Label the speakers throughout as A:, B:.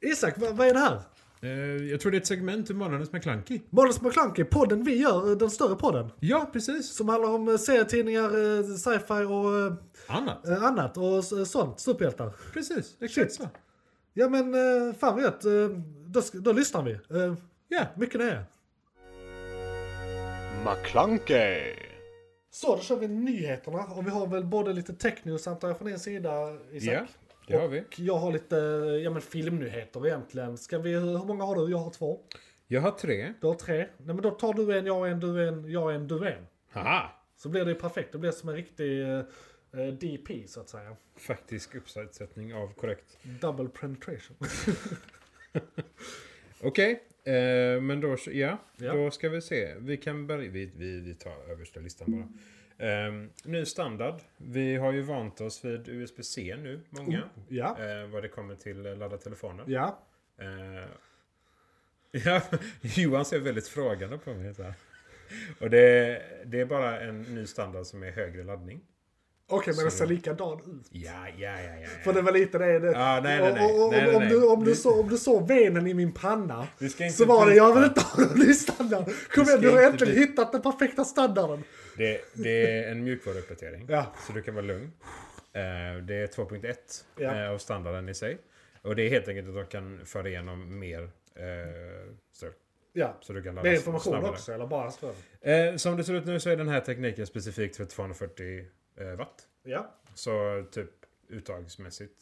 A: Isak, vad, vad är det här?
B: Eh, jag tror det är ett segment ur Månadens McKlunky.
A: Månads McKlunky, podden vi gör, eh, den större podden.
B: Ja, precis.
A: Som handlar om eh, serietidningar, eh, sci-fi och eh,
B: Annat.
A: eh, annat och s- sånt, superhjältar.
B: Precis, exakt
A: Shit.
B: så.
A: Ja men eh, fan vad gött, eh, då, sk- då lyssnar vi. Eh,
B: Ja,
A: Mycket nöje.
C: McClunkey.
A: Så, då kör vi nyheterna. Och vi har väl både lite technews antar jag från din sida Isak.
B: ja det har vi.
A: Och jag har lite ja, men filmnyheter egentligen. Ska vi, hur många har du? Jag har två.
B: Jag har tre.
A: Du har tre. Nej men då tar du en, jag en, du en, jag en, du en.
B: Haha!
A: Så blir det ju perfekt. Det blir som en riktig eh, eh, DP så att säga.
B: Faktisk uppsättning av korrekt.
A: Double penetration.
B: Okej, eh, men då, ja,
A: Ja.
B: då ska vi se. Vi kan börja, vi, vi, vi tar översta listan bara. Ehm, ny standard. Vi har ju vant oss vid USB-C nu, många.
A: ja.
B: Eh, vad det kommer till eh, ladda telefoner.
A: Ja.
B: Eh, ja, Johan ser väldigt frågande på mig. Så här. Och det, det är bara en ny standard som är högre laddning.
A: Okej men den
B: Så-
A: ser likadan ut.
B: Ja, ja, ja, ja.
A: För det var lite det. det.
B: Ja, nej, nej, nej.
A: Och- och- och-
B: Nej, nej,
A: om
B: nej.
A: du- Om du
B: Vi-
A: så- om du såg venen i min panna.
B: Vi ska inte
A: Så var det, jag vill inte
B: byta.
A: ha någon ny standard. Kom
B: ska
A: igen, du har
B: inte
A: äntligen
B: byta.
A: hittat den perfekta standarden.
B: Det, det är en mjukvaruuppdatering.
A: Ja.
B: Så du kan vara lugn. Eh, Det är 2.1
A: Ja.
B: eh, av standarden i sig. Och det är helt enkelt att de kan föra igenom mer eh, ström.
A: Ja.
B: Så du kan
A: Med
B: ladda
A: information
B: snabbare.
A: också, eller bara ström.
B: Eh, Som det ser ut nu så är den här tekniken specifikt för 240 eh, watt.
A: Ja,
B: Så typ uttagsmässigt.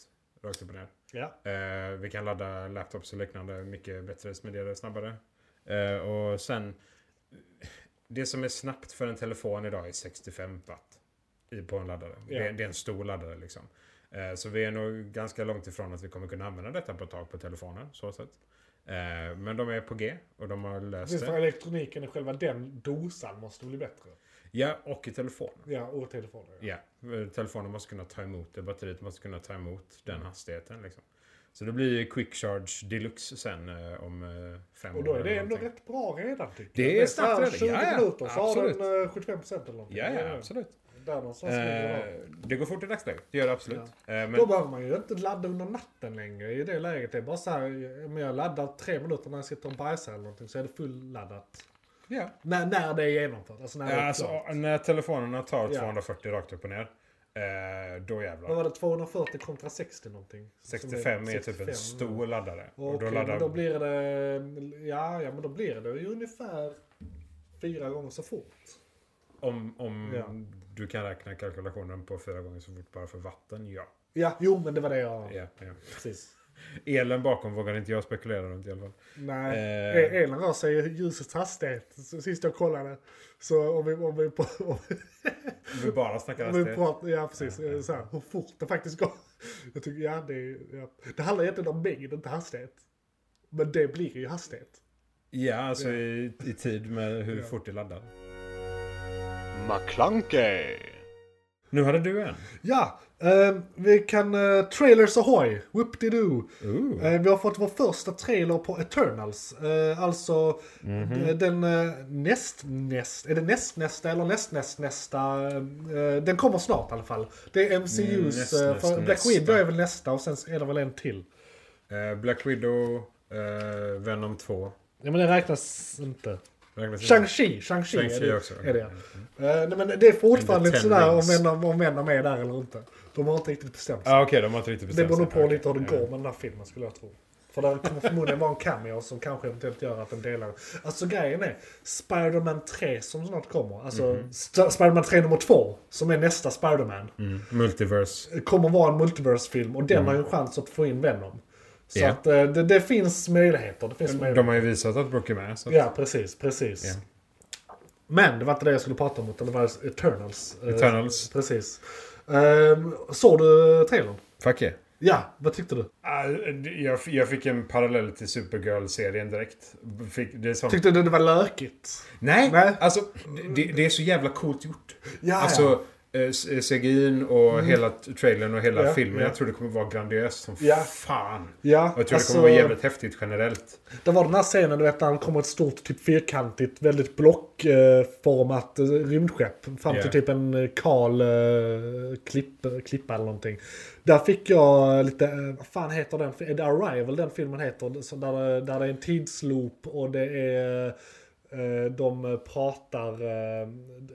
B: Rakt upp och ner.
A: ja.
B: Eh, vi kan ladda laptops och liknande mycket bättre, smidigare, snabbare. Eh, och sen, det som är snabbt för en telefon idag är 65 watt i- på en laddare.
A: Ja.
B: Det, är, det är en stor laddare liksom. Eh, så vi är nog ganska långt ifrån att vi kommer kunna använda detta på ett tag på telefoner. Så sätt. Eh, men de är på G och de har löst
A: Precis för
B: det.
A: elektroniken, själva den dosan måste bli bättre.
B: Ja, och i telefonen.
A: Ja, och telefoner.
B: Ja, eh, telefonen måste kunna ta emot det. Batteriet måste kunna ta emot den
A: Mm.
B: hastigheten. Liksom. Så det blir ju quick charge deluxe sen eh, om eh, fem
A: Och då
B: år
A: är
B: eller
A: det ändå
B: någonting.
A: rätt bra redan tycker
B: Det
A: jag.
B: är
A: så här
B: snabbt redan.
A: 20
B: Ja, ja.
A: minuter så
B: Absolut.
A: har den eh, 75% eller någonting.
B: Ja, ja, absolut.
A: Där någonstans ligger den.
B: Eh, det går fort i dagsläget. Det gör det absolut. Eh,
A: Då
B: men,
A: behöver man ju inte ladda under natten längre i det läget. Det är bara så här, om jag laddar tre minuter när jag sitter och bajsar eller någonting så är det fulladdat.
B: ja.
A: När, när det är genomfört. Alltså när det är
B: alltså,
A: klart.
B: när telefonerna tar
A: Ja.
B: 240 rakt upp och ner, eh, då
A: Vad
B: jävlar.
A: var det? 240 kontra 60 någonting? Som
B: 65 är typ
A: 65.
B: en stor laddare.
A: Och
B: Och då
A: men då
B: laddar...
A: blir det... Ja, ja, men då blir det ju ungefär fyra gånger så fort.
B: Om, om
A: Ja.
B: du kan räkna kalkylationen på fyra gånger så fort bara för vatten, ja.
A: Ja, jo men det var det jag...
B: ja, ja.
A: Precis.
B: Elen bakom vågar inte jag spekulera runt i alla fall.
A: Nej,
B: Eh.
A: eh. elen rör sig i ljusets hastighet. Så Sist jag kollade. Så om vi, om vi, på- om vi,
B: Eh, Om vi bara snackar
A: om vi
B: hastighet.
A: pratar, ja precis, eh, så här, hur fort det faktiskt går. Jag tycker, ja det, är- ja. det handlar egentligen om mängd, inte hastighet. Men det blir ju hastighet.
B: Ja, alltså i, i tid med hur
A: Ja.
B: fort det laddar.
C: McClunkey.
B: Nu hade du en.
A: Ja, eh, vi kan... Eh, trailers ahoy! Whoop-de-doo!
B: Ooh.
A: Eh, Vi har fått vår första trailer på Eternals. Eh, Alltså
B: Mhm.
A: eh, den eh, näst, näst, är det näst nästa eller näst näst nästa? eh, Den kommer snart i alla fall. Det är MCUs,
B: Mm, näst,
A: eh,
B: näst,
A: för Black
B: nästa.
A: Widow är väl nästa och sen är det väl en till.
B: Eh, Black Widow, eh, Venom 2.
A: Ja men den räknas inte.
B: Räknas in.
A: Shang-Chi, Shang-Chi är
B: Shang-Chi
A: det,
B: också.
A: är det. Eh, Nej men det är fortfarande
B: And the
A: lite
B: Ten
A: sådär om
B: Rings.
A: en, av- om en av är där eller inte. De har inte riktigt bestämt sig.
B: Ja, Ah, okej, de har inte riktigt
A: Det
B: bestämt
A: beror nog
B: sig.
A: på lite hur det
B: Okej,
A: går med den här filmen skulle jag tro. För det kommer förmodligen vara en cameo som kanske eventuellt gör att den delar. Alltså grejen är, Spider-Man 3 som snart kommer, alltså
B: Mhm.
A: St- Spider-Man 3 nummer 2, som är nästa Spider-Man,
B: ja. Mm. Multiverse.
A: kommer vara en multiverse-film och den har ju en chans att få in Venom. Så
B: Mm. Ja.
A: att eh, det, det finns möjligheter. Det finns möjligheter.
B: De har ju visat att Brooke är med. Så att
A: Ja, precis, precis.
B: Ja.
A: Men det var inte det jag skulle prata om, utan det var Eternals. Eh,
B: Eternals.
A: Precis. Ehm, såg du trailern?
B: Fuck yeah.
A: Ja, vad tyckte du?
B: Ah, jag, jag fick en parallell till Supergirl-serien direkt. Fick, det är som...
A: Tyckte du det var lökigt?
B: Nej,
A: Nej.
B: alltså det, det är så jävla coolt gjort.
A: Ah, Ja, Mm.
B: alltså, eh, c- CGI'n och hela t- trailern och hela
A: Ja,
B: filmen.
A: ja.
B: Jag tror det kommer vara grandiöst som
A: Ja.
B: fan.
A: Ja,
B: Och jag tror
A: alltså,
B: det kommer vara jävligt häftigt generellt.
A: Det var den här scenen du vet, när han kommer ett stort, typ fyrkantigt, väldigt blockformat eh, rymdskepp. Fram till
B: Ja.
A: typ en eh, kal eh, klipp, klippa eller någonting. Där fick jag lite, eh, vad fan heter den? Är det Arrival den filmen heter? Så där, det- där det är en tidsloop och det är... eh, De pratar... eh,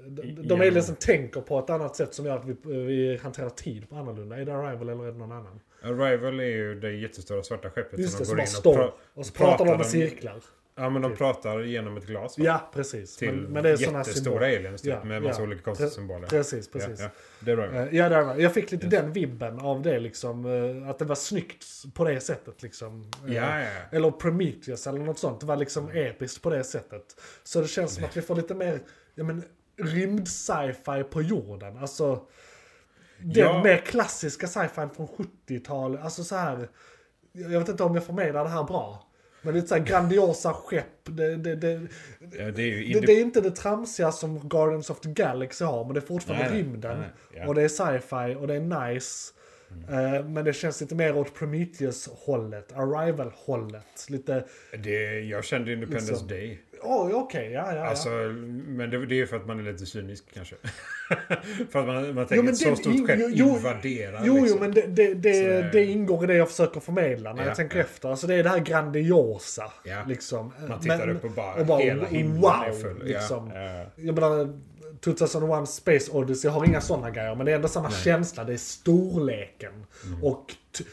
A: De, de- de
B: Ja.
A: aliensen tänker på ett annat sätt som gör att vi, vi hanterar tid på annorlunda. Är det Arrival eller är det någon annan?
B: Arrival är ju det jättestora svarta skeppet
A: Just det,
B: de
A: som bara
B: och,
A: står.
B: pra-
A: Och så pratar de med
B: om-
A: cirklar.
B: Ja, men de pratar genom ett glas. va?
A: Ja, precis.
B: Till
A: men, men det är såna
B: jättestora aliens typ,
A: Ja,
B: med massa
A: ja.
B: olika konstiga
A: Pre-
B: symboler.
A: Precis,
B: Ja,
A: precis. Eh,
B: ja.
A: Ja,
B: Det är Arrival.
A: ja. där var. Jag fick lite den vibben av det liksom. eh, Att det var snyggt på det sättet liksom. Eh,
B: Ja, ja.
A: Eller Prometheus eller något sånt. Det var liksom episkt på det sättet. Så det känns som att vi får lite mer ja, men, rymd sci-fi på jorden. Alltså den
B: Ja.
A: mer klassiska sci-fi från 70-talet. Alltså så här. Jag vet inte om jag förmedlar det här bra. Men lite så här grandiosa skepp. Det, det, det,
B: Ja, det är ju
A: det,
B: indie-
A: det är inte det tramsiga som Guardians of the Galaxy har, men det är fortfarande
B: Nej, nej,
A: rymden.
B: nej, ja.
A: Och det är sci-fi och det är nice. Eh, Men det känns lite mer åt Prometheus-hållet, Arrival-hållet. Lite,
B: det, jag kände Independence
A: Liksom.
B: Day.
A: åh oh, okej, ja ja.
B: Alltså,
A: ja.
B: men det, det är ju för att man är lite cynisk kanske. för att man, man
A: Jo,
B: tänker
A: men
B: att så
A: det-
B: stort
A: jo,
B: skepp
A: jo, jo,
B: invaderar.
A: Jo,
B: liksom.
A: jo, men det, det,
B: Sådär.
A: det, det ingår i det jag försöker förmedla när
B: Ja,
A: jag tänker
B: ja.
A: efter. Alltså det är det här grandiosa.
B: Ja.
A: Liksom.
B: Man tittar upp och bara, hela himlen är full. Ja,
A: Liksom.
B: ja.
A: Jag menar, 2001 Space Odyssey har inga sådana grejer, men det är ändå samma känsla. Det är storleken och ty-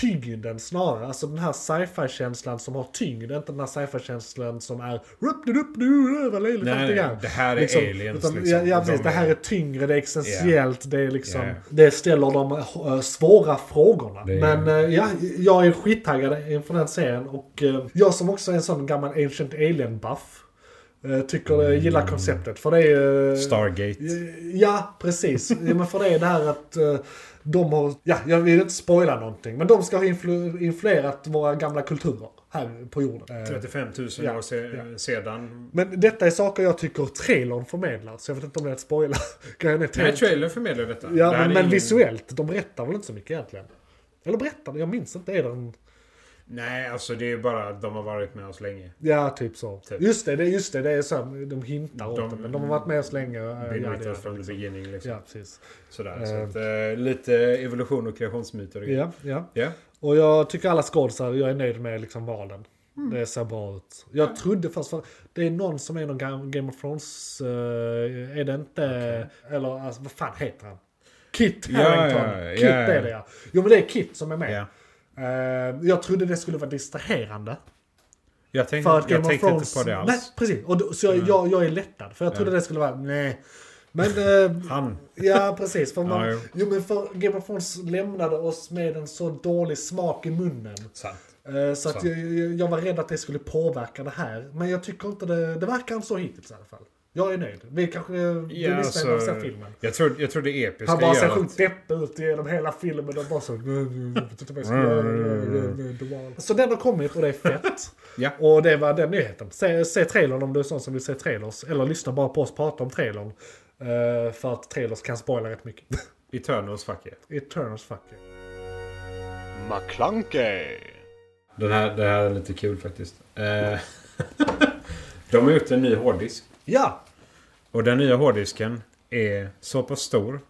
A: tyngden snarare. Alltså den här sci-fi-känslan som har tyngd, inte den här sci-fi-känslan som är rupp du rupp du vad löjligt
B: Nej,
A: allting
B: nej, det här är aliens,
A: Utan,
B: liksom.
A: ja, ja, precis,
B: De
A: det här
B: är-
A: är tyngre, det är existentiellt, det är liksom...
B: Ja.
A: Det ställer de eh, svåra frågorna.
B: Det är-
A: Men eh, ja, jag är skittaggad inför den serien. Och eh, jag som också är en sån gammal Ancient Alien-buff. eh, Tycker, eh, gillar konceptet. För det är ju...
B: Stargate.
A: Ja, precis. Ja, men för det är det här att eh, de har... Ja, jag vill inte spoila någonting. Men de ska ha influ- influerat våra gamla kulturer här på jorden. Eh,
B: 35 000
A: Ja,
B: år se, sedan.
A: Men detta är saker jag tycker trailern förmedlar. Så jag vet inte om det är att spoila. Grejen är
B: Nej,
A: trailern-
B: trailern förmedlar detta.
A: Ja,
B: Det här
A: men,
B: är
A: men
B: ingen-
A: visuellt. De berättar väl inte så mycket egentligen? Eller berättar de? Jag minns inte. Är det en...
B: Nej, alltså det är bara att de har varit med oss länge.
A: Ja, typ så.
B: Typ.
A: Just det, det, just det, det är så. De hintar
B: De-
A: åt det. Men de har varit med oss länge. Ja,
B: Been
A: ja,
B: with
A: det-
B: us from the beginning liksom.
A: ja, precis.
B: Sådär. Så att, eh, lite evolution och kreationsmyter. och grejer.
A: Ja, ja.
B: Ja.
A: Och jag tycker alla skådisar, jag är nöjd med liksom valen. Det ser bra ut. Jag trodde först, för det är någon som är någon Ga- Game of Thrones, eh, är det inte, eller alltså, vad fan heter han? Kit
B: Ja,
A: Harington.
B: ja, ja,
A: Kit
B: ja.
A: är det ja. Jo men det är Kit som är med.
B: Ja.
A: Eh, jag trodde det skulle vara distraherande.
B: Jag tänkte,
A: För att Game
B: jag
A: of
B: tänkte
A: Thrones...
B: inte på det alls.
A: Nej, precis. Och då, så jag, jag, jag är lättad. För jag trodde det skulle vara nej. Men... eh,
B: Han.
A: ja, precis. För man,
B: Ja, jo.
A: jo, men för Game of Thrones lämnade oss med en så dålig smak i munnen.
B: Sant.
A: Eh, Så att
B: Så.
A: jag, jag- jag var rädd att det skulle påverka det här. Men jag tycker inte det... Det verkar inte så hittills i alla fall. Jag är nöjd. Vi kanske... Du
B: Ja,
A: lyssnar när vi
B: alltså,
A: ser filmen.
B: jag, tror, jag tror det episka
A: Han bara ser
B: gör att-
A: sjukt deppig ut genom hela filmen och bara så... "Äh,
B: Mm.
A: Så den har kommit och det är fett.
B: Ja.
A: Och det var den nyheten. Se, se trailern om du är sån som vill se trailers. Eller lyssna bara på oss prata om trailern. Eh, för att trailers kan spoila rätt mycket.
B: Eternals fuck yeah.
A: Eternals fuck you.
C: McClunkey!
B: Den här, det här är lite kul faktiskt. Eh, de har gjort en ny hårddisk.
A: Ja!
B: Och den nya hårddisken är så pass stor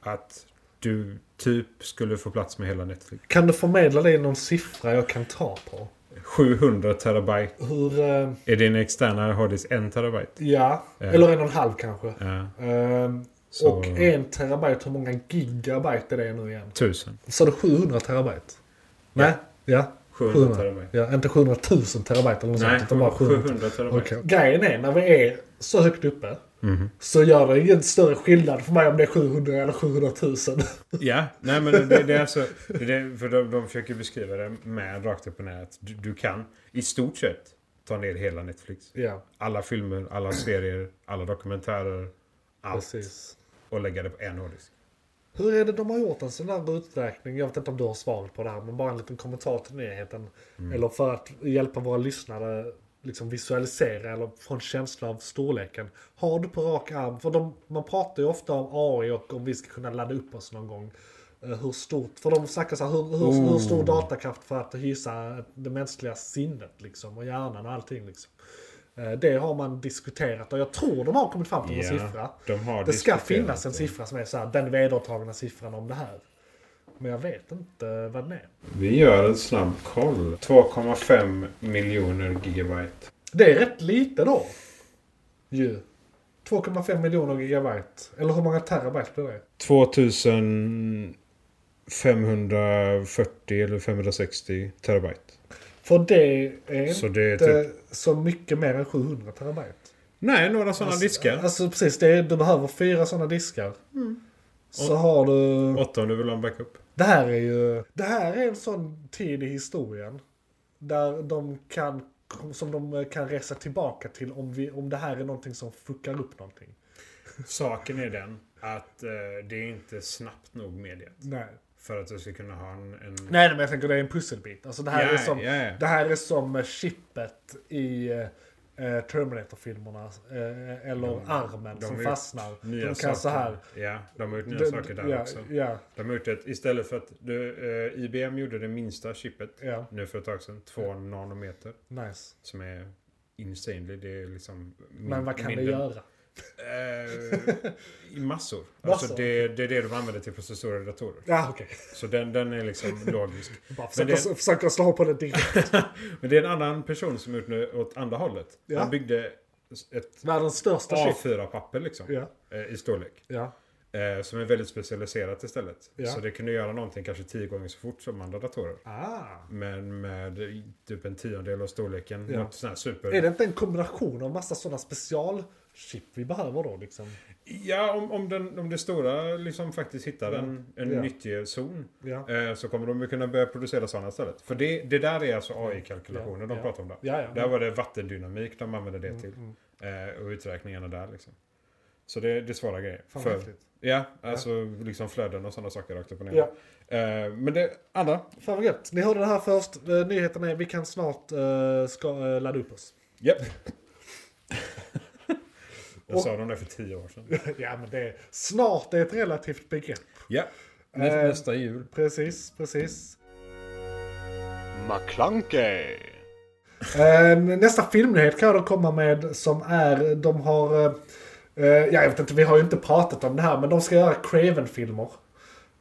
B: att du typ skulle få plats med hela Netflix.
A: Kan du förmedla det i någon siffra jag kan ta på?
B: 700 terabyte.
A: Hur... eh,
B: Är din externa hårddisk 1 terabyte?
A: ja.
B: Ja.
A: Eller en och en halv kanske.
B: Ja.
A: Eh,
B: Så-
A: Och en terabyte, hur många gigabyte är det nu igen?
B: 1000.
A: Sa du 700 terabyte? Nej? Ja.
B: 700 terabyte.
A: Ja, inte 700 000 terabyte eller något
B: Nej,
A: sånt. Utan bara 700
B: 700 terabyte. Mhm.
A: Okej. Grejen är, när vi är så högt uppe så gör det ingen större skillnad för mig om det är 700 eller 700 000.
B: Ja, nej men det, det är alltså... Det, är- för de, de försöker beskriva det med rakt upp och ner att du, du kan i stort sett ta ner hela Netflix.
A: ja,
B: Alla filmer, alla serier, alla dokumentärer. Allt.
A: precis.
B: Och lägga det på en hårddisk.
A: Hur är det de har gjort en sån här uträkning? Jag vet inte om
B: Mm.
A: du har svaret på det här, men bara en liten kommentar till nyheten. Eller för att hjälpa våra lyssnare liksom visualisera eller få en känsla av storleken. Har du på rak arm, för de, man pratar ju ofta om AI och om vi ska kunna ladda upp oss någon gång. eh, Hur stort, för de snackar så här, hur, hur, hur
B: Mm.
A: stor datakraft för att hysa det mänskliga sinnet liksom och hjärnan och allting liksom. Eh, Det har man diskuterat och jag tror de har kommit fram till en
B: Ja,
A: siffra.
B: de har
A: det ska
B: diskuterat
A: finnas en
B: det.
A: siffra som är så här, den vedertagna siffran om det här. Men jag vet inte vad den är.
B: Vi gör en snabb koll. 2,5 miljoner gigabyte.
A: Det är rätt lite då. Ju. 2,5 miljoner gigabyte. Eller hur många terabyte blir det?
B: 2540 eller 560 terabyte.
A: För det är
B: Så det är
A: inte
B: typ...
A: så mycket mer än 700 terabyte.
B: Nej, några sådana diskar.
A: Alltså precis, det är, du behöver fyra sådana diskar. Så har du...
B: Åtta om du vill ha en backup.
A: Det här är ju... Det här är en sån tid i historien. Där de kan... Som de kan resa tillbaka till om, vi, om det här är någonting som fuckar upp någonting.
B: Saken är den att eh, det är inte snabbt nog mediet.
A: Nej.
B: För att du ska kunna ha en... en...
A: Nej men jag tänker det är en pusselbit. Alltså det här är
B: Ja,
A: som...
B: ja, ja.
A: Det här är som chippet i eh, Terminator-filmerna. Eh, eller armen
B: de har
A: som
B: gjort
A: fastnar.
B: Nya
A: De kan
B: saker.
A: så här.
B: Ja, de har gjort nya
A: de-
B: saker där
A: ja,
B: också.
A: Ja,
B: De har gjort ett, istället för att du, eh, IBM gjorde det minsta chippet
A: ja,
B: nu för ett tag sedan, 2
A: Mm.
B: nanometer.
A: nice.
B: Som är insanely, det är liksom... min-
A: Men vad kan det
B: mindre-
A: göra?
B: Eh, I massor. Alltså
A: Massor.
B: det, det är det de använder till processorer och datorer.
A: Ja, okej.
B: Så den, den är liksom logisk.
A: Bara
B: Men
A: försöka,
B: det,
A: försöka slå på det direkt.
B: men det är en annan person som har gjort nu åt andra hållet.
A: Ja.
B: Han byggde ett
A: Världens största chip.
B: A4-papper liksom.
A: Ja,
B: eh, I storlek.
A: ja.
B: Eh, som är väldigt specialiserat istället.
A: Ja.
B: Så det kunde göra någonting kanske tio gånger så fort som andra datorer.
A: Ah.
B: Men med typ en tiondel av storleken.
A: Ja.
B: Något sånt här super...
A: Är det inte en kombination av massa sådana specialchip vi behöver då liksom?
B: Ja, om, om, den, om det stora liksom faktiskt hittar en, en
A: Ja.
B: nyttig zon.
A: Ja,
B: Eh, så kommer de ju kunna börja producera sådana istället. För det, det där är alltså AI-kalkylationer
A: Ja,
B: de
A: ja.
B: pratar om där.
A: ja. ja.
B: Där var det vattendynamik de använde det
A: Mm,
B: till.
A: mm.
B: Eh, och uträkningarna där liksom. Så det, det är svåra grejer.
A: Fan
B: För-
A: vad häftigt.
B: ja, alltså liksom flöden och sådana saker rakt upp och ner.
A: Ja.
B: Eh, men det, andra.
A: Fan vad gött. Ni hörde det här först. Eh, Nyheten är vi kan snart eh, ska, eh, ladda upp oss.
B: Japp. Jag
A: Och-
B: sa de det för tio år sedan.
A: ja men det är, snart är ett relativt begrepp.
B: Ja.
A: Eh,
B: Nästa jul.
A: Precis, precis.
C: McClunkey!
A: Eh, nästa filmnyhet kan jag då komma med som är, de har, eh, eh, ja, jag vet inte, vi har ju inte pratat om det här, men de ska göra Craven-filmer.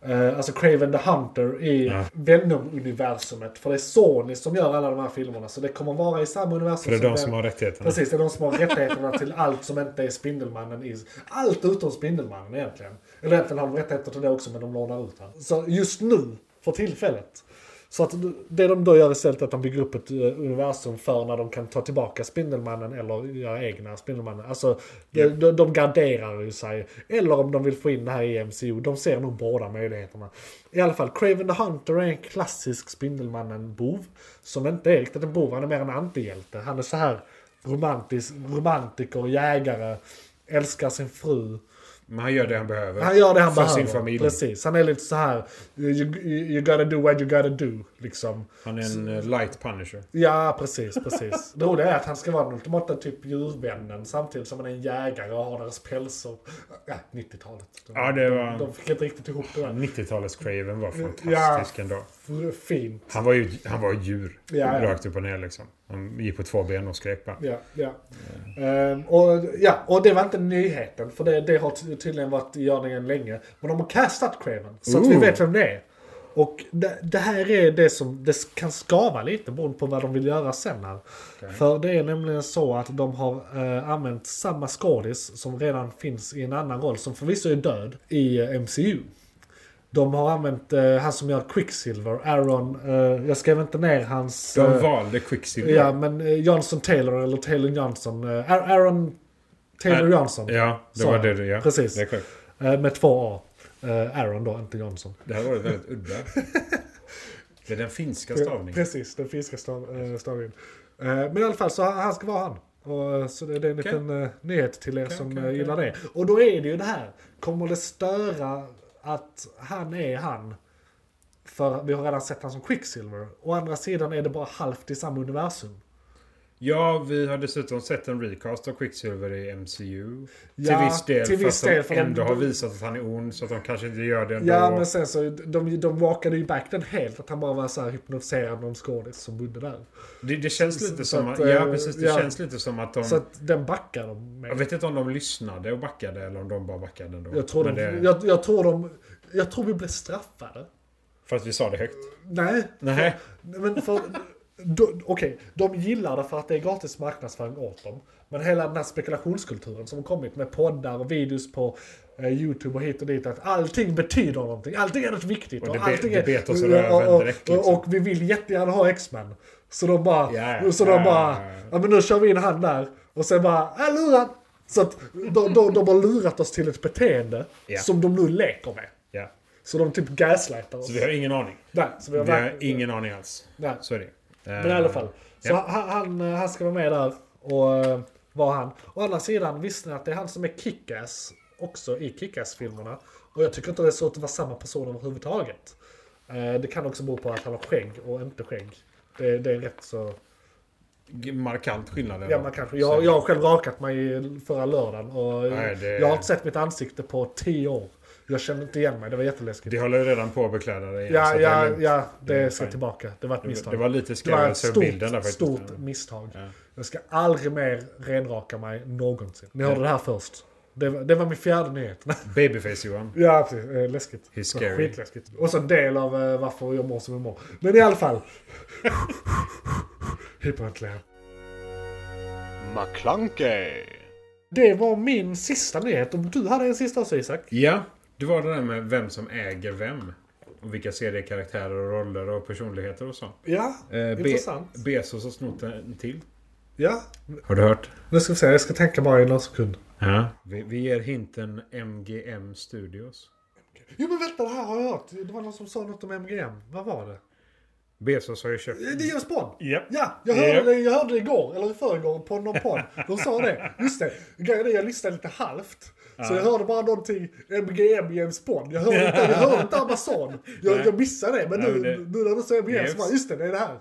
A: Eh, alltså Craven the Hunter i
B: Ja.
A: Venom-universumet. För det är Sony som gör alla de här filmerna, så det kommer vara i samma universum
B: För det är de
A: Ven-
B: som har rättigheterna.
A: Precis, det är de som har rättigheterna till allt som inte är Spindelmannen. I, allt utom Spindelmannen egentligen. Eller egentligen har de rättigheter till det också men de lånar ut han. Så just nu, för tillfället. Så att det de då gör istället är att de bygger upp ett eh, universum för när de kan ta tillbaka Spindelmannen eller göra egna Spindelmannen. Alltså de, de, de garderar ju sig. Eller om de vill få in det här i MCU. De ser nog båda möjligheterna. I alla fall, Craven the Hunter är en klassisk Spindelmannen-bov. Som inte är riktigt en bov, han är mer en antihjälte. Han är så här romantisk, romantiker, jägare, älskar sin fru.
B: Men han gör det han behöver.
A: Han gör det han
B: För
A: behöver.
B: sin familj.
A: Precis, han är lite så här, you, you gotta do what you gotta do, liksom.
B: Han är en eh, light punisher.
A: Ja, precis, precis. Det roliga är att han ska vara den ultimata typ djurvännen samtidigt som han är en jägare och har deras pälsar. Ja, 90-talet. De,
B: Ja, det var-
A: de, de fick inte riktigt ihop det där.
B: 90-talets Craven var fantastisk
A: fantastisk
B: ändå.
A: F- Fint.
B: Han var ju han var ju djur.
A: Ja, ja.
B: Rakt upp och ner liksom. Han gick på två ben och skrek bara.
A: Ja, ja. Ehm, och, ja, och det var inte nyheten, för det, det har ty- tydligen varit i görningen länge. Men de har castat Craven, så att vi
B: Ooh.
A: vet vem det är. Och det, det här är det som det kan skava lite beroende på vad de vill göra sen här. För det är nämligen så att de har eh, använt samma skådis som redan finns i en annan roll, som förvisso är död, i eh, MCU. De har använt eh, han som gör Quicksilver, Aaron, eh, jag skrev inte ner hans...
B: De
A: eh,
B: valde Quicksilver.
A: Ja, men eh, Johnson Taylor eller Taylor Johnson. eh, Ar- Aaron Taylor
B: Ar-
A: Johnson.
B: Ja, det
A: Sa
B: var
A: jag.
B: det du ja.
A: Precis.
B: Det är korrekt.
A: eh, Med två A. Eh, Aaron då, inte Johnson.
B: Det här var väldigt udda. Det är den finska stavningen.
A: Precis, den finska stav, eh, stavningen. Eh, Men i alla fall, så han han ska vara han. Och, eh, så det det är en
B: Okej.
A: liten eh, nyhet till er
B: Okej,
A: som
B: okej,
A: eh,
B: okej.
A: gillar det. Och då är det ju det här. Kommer det störa att han är han? För vi har redan sett han som Quicksilver. Å andra sidan är det bara halvt i samma universum.
B: Ja, vi har dessutom sett en recast av Quicksilver i MCU.
A: Ja,
B: till viss del,
A: till viss
B: fast
A: del, för
B: de
A: de-
B: ändå
A: de-
B: har visat att han är ond, så att de kanske inte gör det ändå.
A: Ja, men sen så de, de walkade ju back den helt. Att han bara var så här hypnotiserad någon skådis som bodde där.
B: det, det känns
A: så-
B: lite
A: så
B: som
A: att,
B: att, Ja,
A: eh,
B: precis. Det
A: ja.
B: känns lite som att de...
A: Så att den backar de
B: jag
A: med.
B: vet inte om de lyssnade och backade eller om de bara backade ändå.
A: Jag tror, de,
B: Men det,
A: jag, jag tror de... Jag tror vi blev straffade.
B: För att vi sa det högt.
A: Nej,
B: Nej.
A: men för... då- Okej, de gillar det för att det är gratis marknadsföring åt dem. Men hela den här spekulationskulturen som har kommit med poddar och videos på eh, YouTube och hit och dit. Att allting betyder någonting. Allting är något viktigt.
B: Och det be-
A: allting
B: det
A: är-
B: bet oss i röven
A: och- och-
B: direkt, liksom.
A: Och, och vi vill jättegärna ha X-Men. Så de bara...
B: Ja, ja.
A: så
B: Ja,
A: de
B: ja,
A: bara...
B: ja, ja.
A: Ja men nu kör vi in han där. Och sen bara... Äh, lurad! Så att de, de, de har lurat oss till ett beteende
B: Ja.
A: som de nu leker med.
B: Ja.
A: Så de typ gaslightar oss.
B: Så vi har ingen aning.
A: Nej, så vi har,
B: Vi har
A: verkligen-
B: ingen aning alls.
A: Nej.
B: Så är det. Eh,
A: Men i alla fall. Så
B: Ja.
A: han, han, han ska vara med där och eh, vara han. Å andra sidan visste ni att det är han som är Kickass också i Kickass-filmerna. Och jag tycker inte det är så att det var samma person överhuvudtaget. Eh, Det kan också bero på att han har skägg och inte skägg. Det, det är rätt så...
B: G- Markant skillnad. ändå.
A: Ja, man kanske, jag, jag har själv rakat mig i förra lördagen och
B: Nej, det-
A: jag har inte sett mitt ansikte på tio år. Jag kände inte igen mig, det var jätteläskigt.
B: Det håller ju redan på att bekläda dig. igen, så
A: Ja,
B: att det är
A: ja,
B: lugnt.
A: ja,
B: Det är
A: det ska
B: fine.
A: tillbaka. Det var ett misstag.
B: Det var lite
A: Det var ett
B: skrämmelse över bilden där
A: stort,
B: faktiskt.
A: stort misstag.
B: Ja.
A: Jag ska aldrig mer renraka mig någonsin. Ni hörde det här först. Det var, det var min fjärde nyhet.
B: Babyface Johan.
A: ja, precis. Eh, Läskigt.
B: He's scary.
A: Skitläskigt. Och så en del av eh, varför jag mår som jag mår. Men i alla fall. Hyperventilera.
C: McClunkey!
A: Det var min sista nyhet. Om du hade en sista också Isak.
B: Ja, det var det där med vem som äger vem. Och vilka seriekaraktärer och roller och personligheter och så.
A: Ja,
B: Eh, Be-
A: intressant.
B: Bezos har snott en till.
A: Ja.
B: Har du hört?
A: Nu ska vi se, jag ska tänka bara i någon sekund.
B: Ja. Vi, vi ger hinten MGM Studios.
A: Jo men vänta, det här har jag hört. Det var någon som sa något om MGM. Vad var det?
B: Bezos har ju köpt...
A: Eh, Det är James Bond!
B: Japp.
A: Ja, jag hörde,
B: Japp.
A: det, jag hörde det igår, eller i förrgår, på någon podd. De sa det. Just det. Grejen är, jag lyssnade lite halvt. Så jag hörde bara någonting, MGM James Bond. Jag hörde inte, jag hörde inte Amazon. Jag, jag missade det, men
B: Nej,
A: nu,
B: men det-
A: nu när du säger MGM
B: James.
A: så bara, just det, det är det här.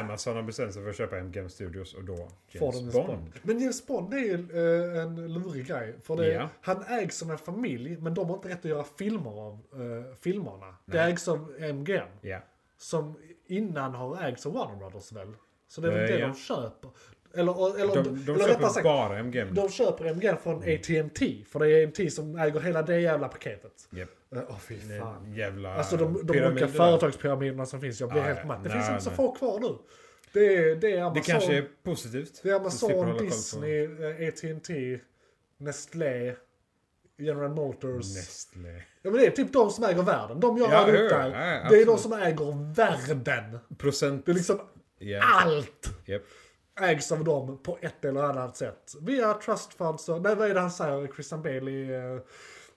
B: Amazon har bestämt sig för att köpa MGM Studios och då
A: Får
B: James
A: de en
B: Bond.
A: Bond. Men James Bond är ju eh, en lurig grej. För det,
B: Ja.
A: han ägs som en familj, men de har inte rätt att göra filmer av eh, filmerna. Det ägs av MGM.
B: Ja.
A: som innan har ägts av Warner Brothers väl? Så det är väl
B: Eh,
A: det
B: ja.
A: de köper? Eller, eller,
B: De,
A: eller
B: de
A: rättare
B: köper
A: sagt,
B: bara Mm. MGM.
A: de köper MGM från AT&T För det är AT&T som äger hela det jävla paketet.
B: Japp.
A: Eh, Åh fy fan.
B: Jävla
A: Alltså de, de
B: pyramider
A: olika
B: där.
A: företagspyramiderna som finns, jag blir
B: Ah,
A: helt
B: ja.
A: matt. Det
B: Nej,
A: finns inte så
B: nej.
A: få kvar nu. Det är, det är Amazon,
B: Det kanske är positivt.
A: det är
B: Du slipper
A: Amazon
B: hålla koll på-
A: Disney, eh, AT&T Nestlé, General Motors.
B: Nestlé.
A: Ja men det är typ de som äger världen. De jag
B: Ja,
A: radade upp
B: ja,
A: där.
B: ja, ja,
A: det är de
B: absolut.
A: som äger världen.
B: Procent...
A: Det är liksom
B: Ja.
A: allt
B: Japp.
A: ägs av dem på ett eller annat sätt. Via trust funds och, nej vad är det han säger, Christian Bale i, eh,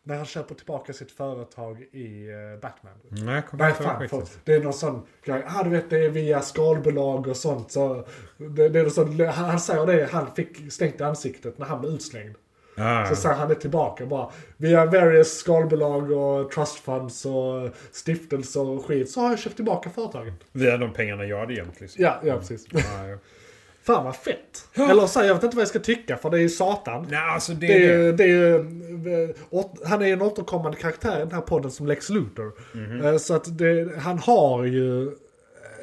A: när han köper tillbaka sitt företag i eh, Batman.
B: Nej, kom
A: Nej
B: inte ihåg
A: fan,
B: skiten.
A: folk, det är någon sån grej, ah, du vet det är via skalbolag och sånt. Så det, det är någon sån, han, han säger det, han fick stängt i ansiktet när han blev utslängd.
B: Ah.
A: Så säger han det tillbaka bara. Via various skalbolag och trust funds och stiftelser och skit så har jag köpt tillbaka företaget.
B: Via de pengarna jag hade gömt liksom.
A: Ja, ja precis.
B: Ah, ja.
A: Fan vad fett! Eller så, här, jag vet inte vad jag ska tycka för det är ju Satan.
B: Nej, alltså det,
A: Det är,
B: är det.
A: ju- det är ju, eh, åt- han är ju en återkommande karaktär i den här podden som Lex Luthor. Eh, Så att det, han har ju...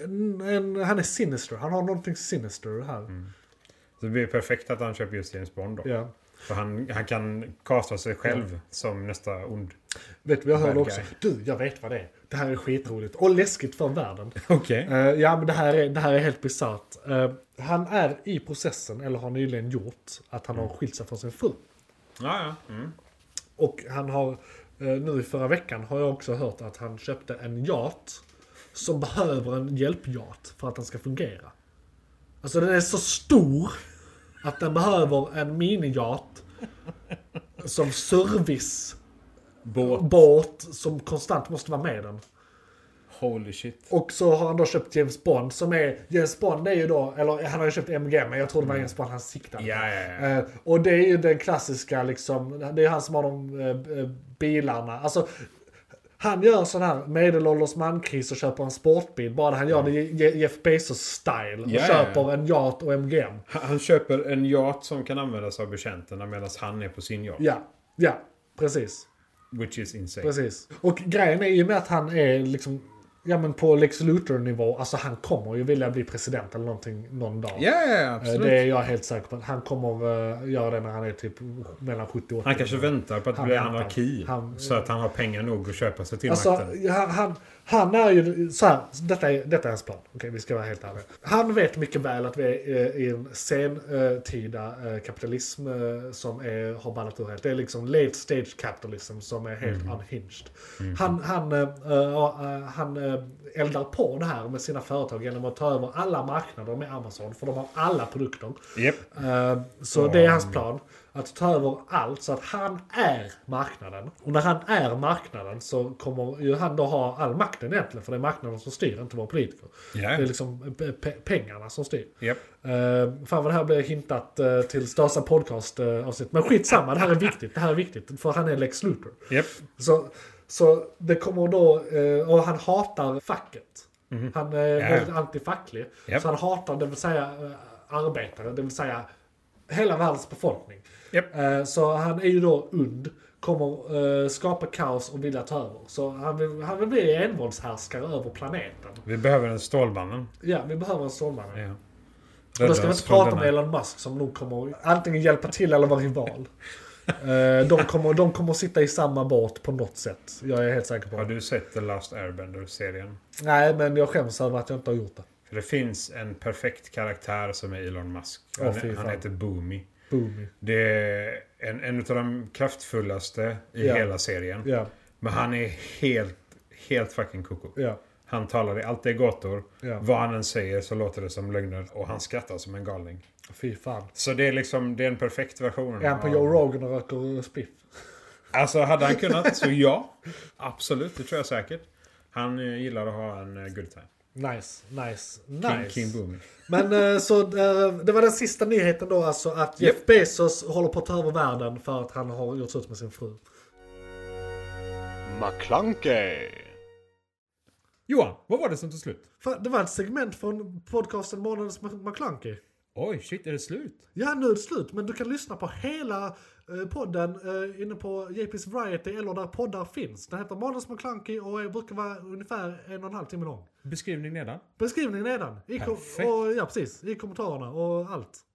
A: En, en, han är sinister, han har någonting sinister här.
B: Så det blir perfekt att han köper just James Bond då.
A: Ja.
B: För han, han kan kasta sig själv som nästa ond.
A: Vet du vad jag hörde
B: Bad
A: också?
B: guy.
A: Du, jag vet vad det är. Det här är skitroligt och läskigt för världen.
B: Okej.
A: Eh, ja, men det här är, det här är helt bisarrt. Eh, han är i processen, eller har nyligen gjort, att han har skilt sig från sin fru.
B: Ja, ja. Mm.
A: Och han har, eh, nu i förra veckan har jag också hört att han köpte en yacht som behöver en hjälpyacht för att den ska fungera. Alltså den är så stor att den behöver en miniyacht som servicebåt
B: Båt.
A: som konstant måste vara med den.
B: Holy shit.
A: Och så har han då köpt James Bond som är, James Bond är ju då, eller han har ju köpt MG men jag tror det var James Bond han siktade på.
B: Mm. Ja, ja, ja.
A: Eh, och det är ju den klassiska liksom, det är han som har de eh, eh, bilarna. Alltså, Han gör en sån här medelålders mankris och köper en sportbil. Bara han gör det i Je- Jeff Bezos-style. Och
B: Ja, ja, ja.
A: köper en yacht och MGM.
B: Han han köper en yacht som kan användas av betjänterna medan han är på sin yacht.
A: Ja, ja, precis.
B: Which is insane.
A: Precis. Och grejen är ju med att han är liksom, ja men på Lex Luthor-nivå, alltså han kommer ju vilja bli president eller någonting någon dag.
B: Ja, ja, ja,
A: Eh,
B: absolut.
A: Det är jag helt säker på. Han kommer eh, göra det när han är typ mellan 70 och 80.
B: Han kanske väntar på att
A: Han
B: bli
A: väntar.
B: anarki.
A: Han-
B: så att han har pengar nog att köpa sig till
A: Alltså,
B: makten.
A: han, han, han är ju så här, detta är, detta är hans plan. Okej, vi ska vara helt ärliga. Han vet mycket väl att vi är eh, i en sentida eh, kapitalism eh, som är, har ballat ur helt. Det är liksom late stage capitalism som är helt
B: Mm.
A: unhinged. Han, han, eh, eh, eh, han eh, eldar på det här med sina företag genom att ta över alla marknader med Amazon, för de har alla produkter.
B: Japp.
A: Eh, Så det är hans plan. Att ta över allt så att han är marknaden. Och när han är marknaden så kommer ju han då ha all makten egentligen. För det är marknaden som styr, inte våra politiker.
B: Ja.
A: Det är liksom pe- pe- pengarna som styr.
B: Japp.
A: Uh, fan vad det här blir hintat eh, till största podcast eh, avsnitt. Men skitsamma, det här är viktigt. Det här är viktigt. För han är Lex Luthor.
B: Japp.
A: Så, så det kommer då, eh, och han hatar facket. Han är
B: Mhm. Ja.
A: väldigt antifacklig.
B: Japp.
A: Så han hatar, det vill säga eh, arbetare, det vill säga hela världens befolkning.
B: Japp.
A: Eh, Så han är ju då und, kommer eh, skapa kaos och vilja ta över. Så han vill, han vill bli envåldshärskare över planeten.
B: Vi behöver en Stålmannen.
A: Ja, vi behöver en Stålmannen.
B: Ja.
A: Och då ska
B: Rädda
A: vi
B: oss
A: inte
B: från
A: prata
B: denna-
A: med Elon Musk som nog kommer antingen hjälpa till eller vara rival. Eh, de, kommer, de kommer sitta i samma båt på något sätt. Jag är helt säker på det.
B: Har du sett The Last Airbender-serien?
A: Nej, men jag skäms över att jag inte har gjort det.
B: För det finns en perfekt karaktär som är Elon Musk.
A: Åh,
B: Han,
A: fy fan.
B: han heter Boomy.
A: Boomy.
B: Det är en, en av de kraftfullaste i
A: Ja.
B: hela serien.
A: Ja,
B: Men han är helt, helt fucking koko.
A: ja,
B: Han talar i alltid gator.
A: Ja.
B: Vad han än säger så låter det som lögner. Och han skrattar som en galning.
A: fy fan.
B: Så det är liksom, det är en perfekt version.
A: Är han på
B: av-
A: Joe Rogan och röker spliff?
B: Alltså hade han kunnat så ja. Absolut, det tror jag säkert. Han eh, gillar att ha en eh, good time.
A: Nice, nice,
B: King,
A: nice.
B: King Boomy.
A: Men eh, så eh, det var den sista nyheten då alltså att Jeff Bezos håller på att ta över världen för att han har gjort slut med sin fru.
C: McClunkey!
B: Johan, vad var det som tog slut?
A: Fan, det var ett segment från podcasten Månadens Mc- McClunky.
B: Oj, shit, är det slut?
A: Ja, nu är det slut, men du kan lyssna på hela eh, podden eh, inne på JP's Variety eller där poddar finns. Den heter Månadens McClunky och är- brukar vara ungefär en och en halv timme lång.
B: Beskrivning nedan.
A: Beskrivningen nedan. I kom-
B: Perfekt.
A: och, ja, precis. I kommentarerna och allt.